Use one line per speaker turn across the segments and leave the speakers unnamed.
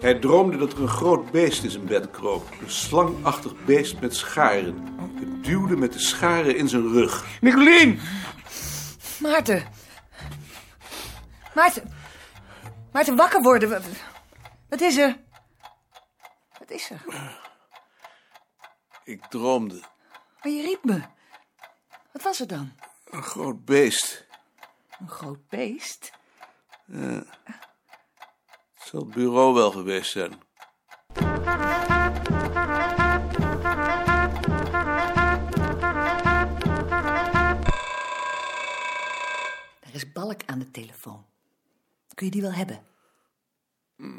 Hij droomde dat er een groot beest in zijn bed kroop. Een slangachtig beest met scharen. Het duwde met de scharen in zijn rug.
Nicolien!
Maarten. Maarten. Maarten, wakker worden. Wat- Wat is er? Wat is er?
Ik droomde.
Maar je riep me. Wat was het dan?
Een groot beest.
Een groot beest?
Het zal het bureau wel geweest zijn.
Daar is Balk aan de telefoon. Kun je die wel hebben?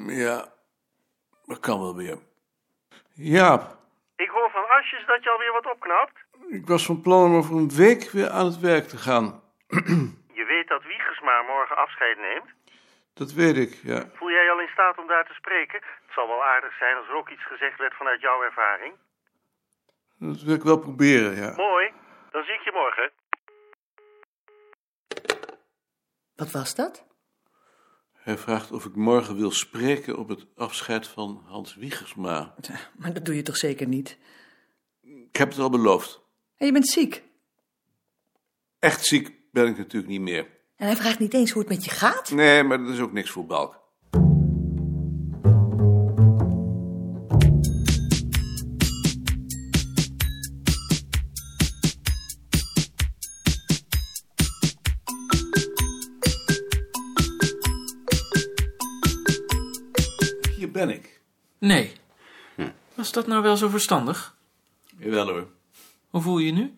Ja, dat kan wel weer. Jaap,
Ik hoor van Asjes dat je alweer wat opknapt.
ik was van plan om over een week weer aan het werk te gaan.
Je weet dat Wiegersma morgen afscheid neemt.
Dat weet ik, ja.
Voel jij je al in staat om daar te spreken? Het zal wel aardig zijn als er ook iets gezegd werd vanuit jouw ervaring.
Dat wil ik wel proberen, ja.
Mooi, dan zie ik je morgen.
Wat was dat?
Hij vraagt of ik morgen wil spreken op het afscheid van Hans Wiegersma.
Maar dat doe je toch zeker niet?
Ik heb het al beloofd.
En je bent ziek.
Echt ziek ben ik natuurlijk niet meer.
En hij vraagt niet eens hoe het met je gaat?
Nee, maar dat is ook niks voor Balk. Hier ben ik.
Nee. Was dat nou wel zo verstandig?
Jawel hoor.
Hoe voel je je nu?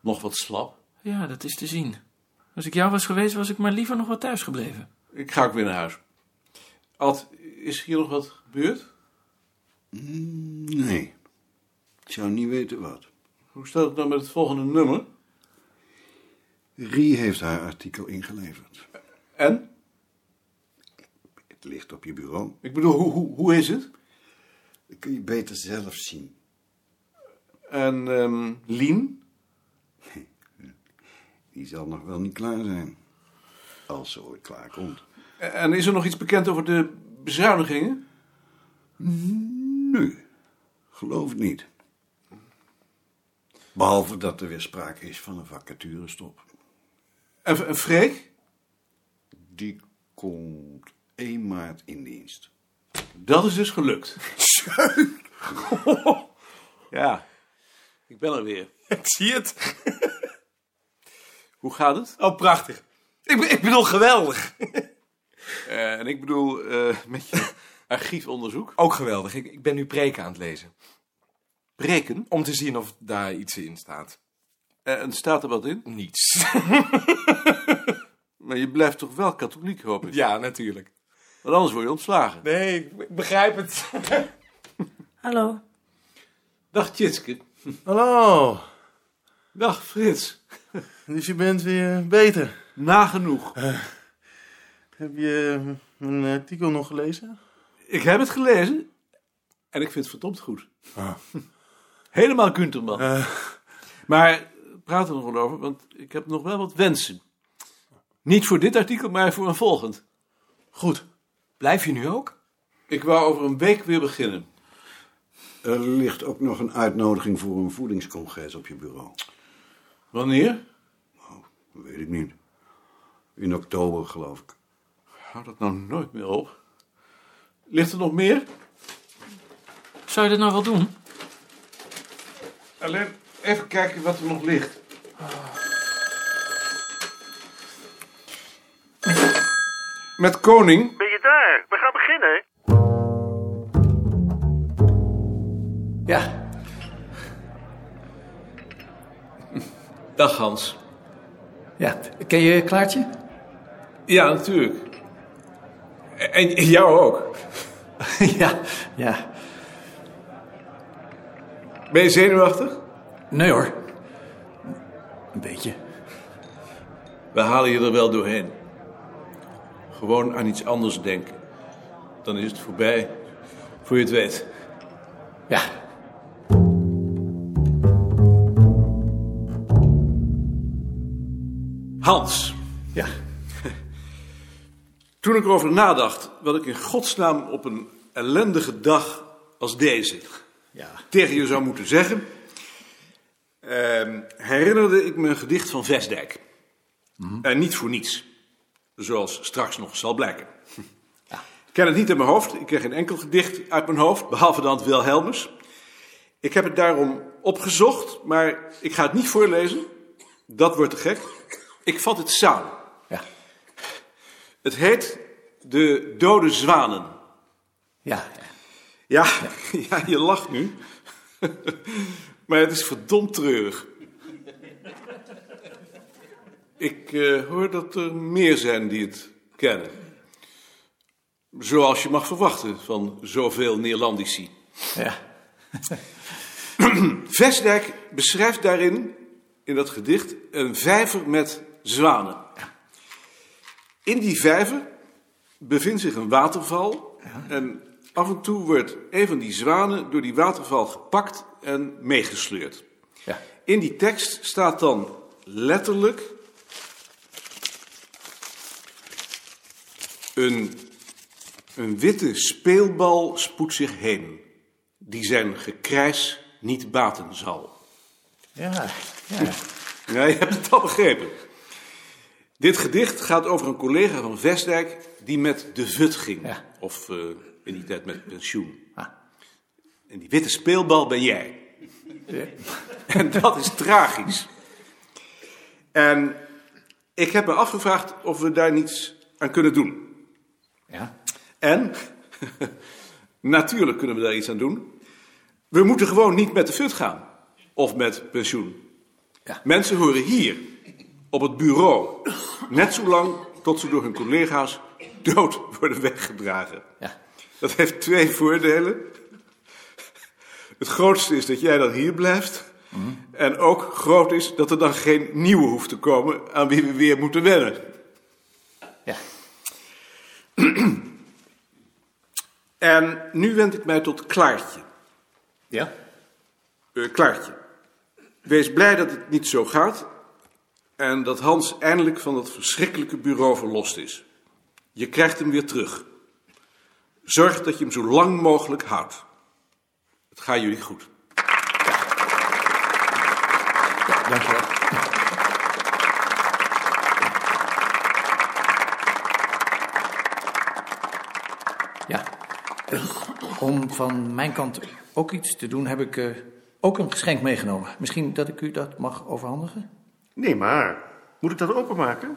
Nog wat slap.
Ja, dat is te zien. Als ik jou was geweest, was ik maar liever nog wat thuis gebleven.
Ik ga ook weer naar huis. Ad, is hier nog wat gebeurd?
Nee, ik zou niet weten wat.
Hoe staat het nou met het volgende nummer?
Rie heeft haar artikel ingeleverd.
En?
Het ligt op je bureau.
Ik bedoel, hoe, hoe, hoe is het?
Dat kun je beter zelf zien.
En ehm Lien?
Die zal nog wel niet klaar zijn. Als ze ooit klaar komt.
En is er nog iets bekend over de bezuinigingen?
Nu, geloof het niet. Behalve dat er weer sprake is van een vacaturestop.
En, en Freek?
Die komt 1 maart in dienst.
Dat is dus gelukt. ja, ik ben er weer.
Ik zie het.
Hoe gaat het?
Oh, prachtig. Ik, be- ik bedoel, geweldig.
Eh, en ik bedoel, eh, met je archiefonderzoek.
Ook geweldig. Ik, ik ben nu preken aan het lezen.
Breken?
Om te zien of daar iets in staat.
Eh, en staat er wat in?
Niets.
Maar je blijft toch wel katholiek, hoop ik.
Ja, natuurlijk.
Want anders word je ontslagen.
Nee, ik begrijp het.
Hallo.
Dag Tjitske.
Hallo,
Dag Frits.
dus je bent weer beter.
Nagenoeg.
Heb je Eh, mijn artikel nog gelezen?
Ik heb het gelezen en ik vind het verdomd goed. Helemaal Kunterman. Maar praten we er nog wel over, want ik heb nog wel wat wensen. Niet voor dit artikel, maar voor een volgend.
Goed.
Blijf je nu ook?
Ik wou over een week weer beginnen.
Er ligt ook nog een uitnodiging voor een voedingscongres op je bureau.
Wanneer?
Weet ik niet. In oktober, geloof ik.
Houd dat nou nooit meer op. Ligt er nog meer?
Zou je dat nou wel doen?
Alleen even kijken wat er nog ligt. Met koning.
Ben je daar? We gaan beginnen.
Ja. Dag Hans.
Ja, ken je Klaartje?
Ja, natuurlijk. En jou ook.
ja, ja.
Ben je zenuwachtig?
Nee hoor. Een beetje.
We halen je er wel doorheen. Gewoon aan iets anders denken. Dan is het voorbij, voor je het weet.
Ja.
Hans,
Ja.
Toen ik erover nadacht, wat ik in godsnaam op een ellendige dag als deze tegen je zou moeten zeggen, ehm, herinnerde ik me een gedicht van Vesdijk. En niet voor niets, zoals straks nog zal blijken. Ik ken het niet in mijn hoofd, ik ken geen enkel gedicht uit mijn hoofd, behalve dan het Wilhelmus. Ik heb het daarom opgezocht, maar ik ga het niet voorlezen. Dat wordt te gek. Ik vat het samen.
Ja.
Het heet De Dode Zwanen.
Ja.
Ja, ja je lacht nu. maar het is verdomd treurig. Ik eh, hoor dat er meer zijn die het kennen. Zoals je mag verwachten van zoveel Neerlandici.
Ja.
Vestdijk beschrijft daarin, in dat gedicht, een vijver met zwanen. In die vijver bevindt zich een waterval. En af en toe wordt een van die zwanen door die waterval gepakt en meegesleurd.
Ja.
In die tekst staat dan letterlijk een, een witte speelbal spoedt zich heen, die zijn gekrijs niet baten zal.
Ja.
Ja, je hebt het al begrepen. Dit gedicht gaat over een collega van Vestdijk die met de VUT ging.
Ja.
Of eh, in die tijd met pensioen.
Ah.
En die witte speelbal ben jij. En dat is tragisch. En ik heb me afgevraagd of we daar niets aan kunnen doen.
Ja.
En? Natuurlijk kunnen we daar iets aan doen. We moeten gewoon niet met de fut gaan. Of met pensioen.
Ja.
Mensen horen hier, op het bureau, net zo lang tot ze door hun collega's dood worden weggedragen.
Ja.
Dat heeft twee voordelen. Het grootste is dat jij dan hier blijft.
Mhm.
En ook groot is dat er dan geen nieuwe hoeft te komen aan wie we weer moeten wennen.
Ja.
En nu wend ik mij tot Klaartje.
Ja.
Eh, Klaartje, wees blij dat het niet zo gaat en dat Hans eindelijk van dat verschrikkelijke bureau verlost is. Je krijgt hem weer terug. Zorg dat je hem zo lang mogelijk houdt. Het gaat jullie goed.
Ja. Eh, Om van mijn kant ook iets te doen, heb ik eh, ook een geschenk meegenomen. Misschien dat ik u dat mag overhandigen?
Nee, maar. Moet ik dat openmaken?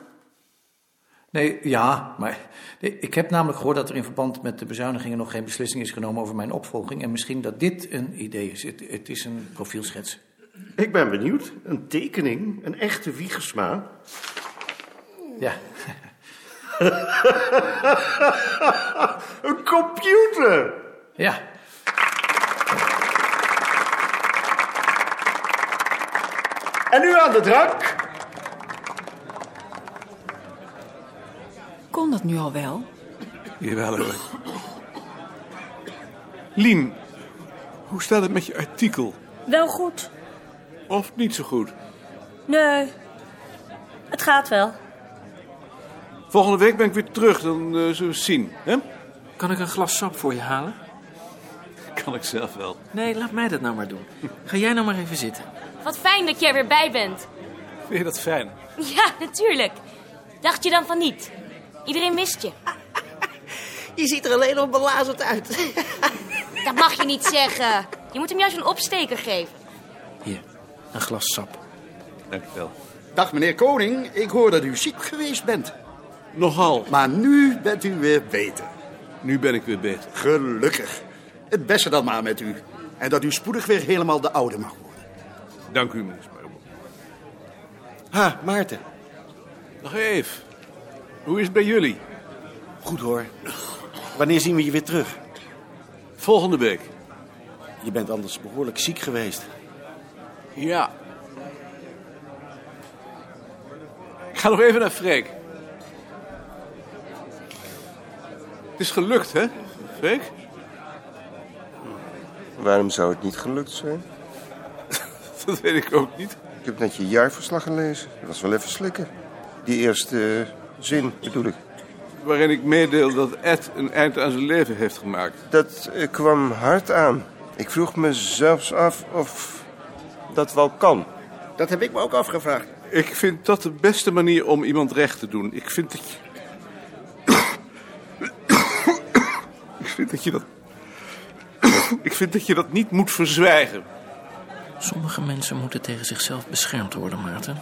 Nee, ja, maar nee, ik heb namelijk gehoord dat er in verband met de bezuinigingen nog geen beslissing is genomen over mijn opvolging. En misschien dat dit een idee is. Het, het is een profielschets.
Ik ben benieuwd. Een tekening, een echte wiegersma.
Ja,
Een computer!
ja.
En nu aan de drank!
Kon dat nu al wel?
Jawel hoor. Lien, hoe staat het met je artikel?
Wel goed.
Of niet zo goed?
Nee. Het gaat wel.
Volgende week ben ik weer terug, dan eh, zullen we zien. Hè?
Kan ik een glas sap voor je halen?
Kan ik zelf wel.
Nee, laat mij dat nou maar doen. Ga jij nou maar even zitten.
Wat fijn dat jij er weer bij bent.
Vind je dat fijn?
Ja, natuurlijk. Dacht je dan van niet? Iedereen mist je.
Je ziet er alleen al belazerd uit.
Dat mag je niet zeggen. Je moet hem juist een opsteker geven.
Hier, een glas sap.
Dank je wel.
Dag meneer Koning, ik hoor dat u ziek geweest bent.
Nogal.
Maar nu bent u weer beter.
Nu ben ik weer beter.
Gelukkig. Het beste dan maar met u. En dat u spoedig weer helemaal de oude mag worden.
Dank u, meneer Sparboom.
Ha, Maarten.
Nog even. Hoe is het bij jullie?
Goed hoor. Wanneer zien we je weer terug?
Volgende week.
Je bent anders behoorlijk ziek geweest.
Ja. Ik ga nog even naar Freek. Het is gelukt, hè? Freek?
Waarom zou het niet gelukt zijn?
Dat weet ik ook niet.
Ik heb net je jaarverslag gelezen. Dat was wel even slikken. Die eerste eh, zin bedoel ik.
waarin ik meedeel dat Ed een eind aan zijn leven heeft gemaakt.
Dat eh, kwam hard aan. Ik vroeg me zelfs af of dat wel kan.
Dat heb ik me ook afgevraagd.
Ik vind dat de beste manier om iemand recht te doen. Ik vind dat je... ik vind dat je dat... ik vind dat je dat niet moet verzwijgen.
Sommige mensen moeten tegen zichzelf beschermd worden, Maarten.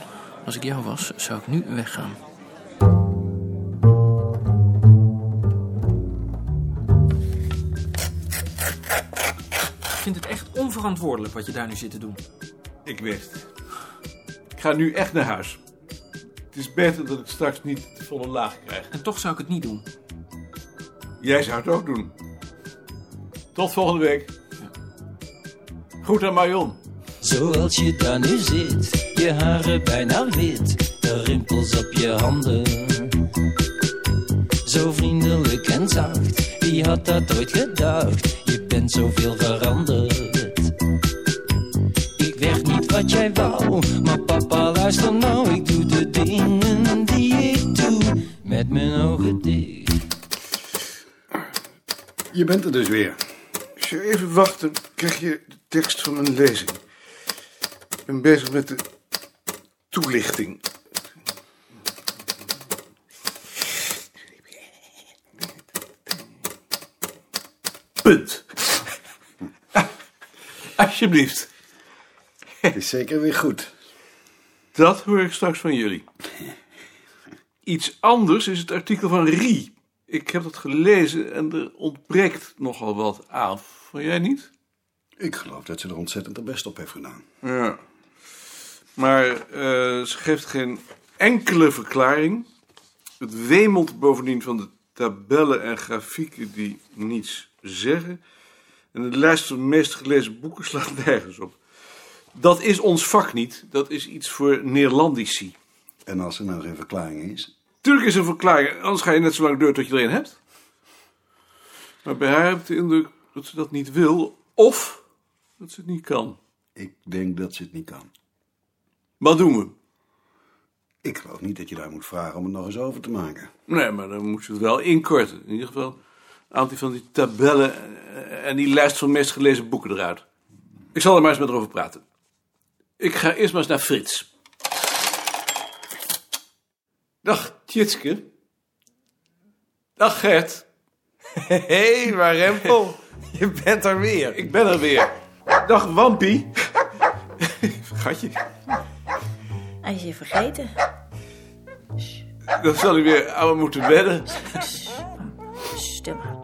Als ik jou was, zou ik nu weggaan. Ik vind het echt onverantwoordelijk wat je daar nu zit te doen.
Ik weet het. Ik ga nu echt naar huis. Het is beter dat ik straks niet de volle laag krijg.
En toch zou ik het niet doen.
Jij zou het ook doen. Tot volgende week. Goed aan Marion.
Zoals je daar nu zit, je haren bijna wit, de rimpels op je handen. Zo vriendelijk en zacht, wie had dat ooit gedacht? Je bent zoveel veranderd. Ik werd niet wat jij wou, maar papa luister nou, ik doe de dingen die ik doe, met mijn ogen dicht.
Je bent er dus weer.
Als je even wacht, dan krijg je de tekst van een lezing.
Ik ben bezig met de toelichting.
Punt. Alsjeblieft.
Het is zeker weer goed.
Dat hoor ik straks van jullie. Iets anders is het artikel van Rie. Ik heb dat gelezen en er ontbreekt nogal wat aan. Vond jij niet?
Ik geloof dat ze er ontzettend haar best op heeft gedaan.
Ja. Maar eh, ze geeft geen enkele verklaring. Het wemelt bovendien van de tabellen en grafieken die niets zeggen. En de lijst van de meest gelezen boeken slaat nergens op. Dat is ons vak niet. Dat is iets voor Neerlandici.
En als er nou geen verklaring is?
Tuurlijk is er een verklaring. Anders ga je net zo lang deur tot je erin hebt. Maar bij haar heb ik de indruk dat ze dat niet wil. Of dat ze het niet kan.
Ik denk dat ze het niet kan.
Wat doen we?
Ik geloof niet dat je daar moet vragen om het nog eens over te maken.
Nee, maar dan moet je het wel inkorten. In ieder geval een aantal van die tabellen eh, en die lijst van meest gelezen boeken eruit. Ik zal er maar eens met haar over praten. Ik ga eerst maar eens naar Frits. Dag Tjitske. Dag Gert. Hé, hey, maar Rempel. Je bent er weer. Ik ben er weer. Dag Wampie. Vergat je?
Hij is je vergeten.
Dan zal u weer aan me moeten wennen.
Stil maar.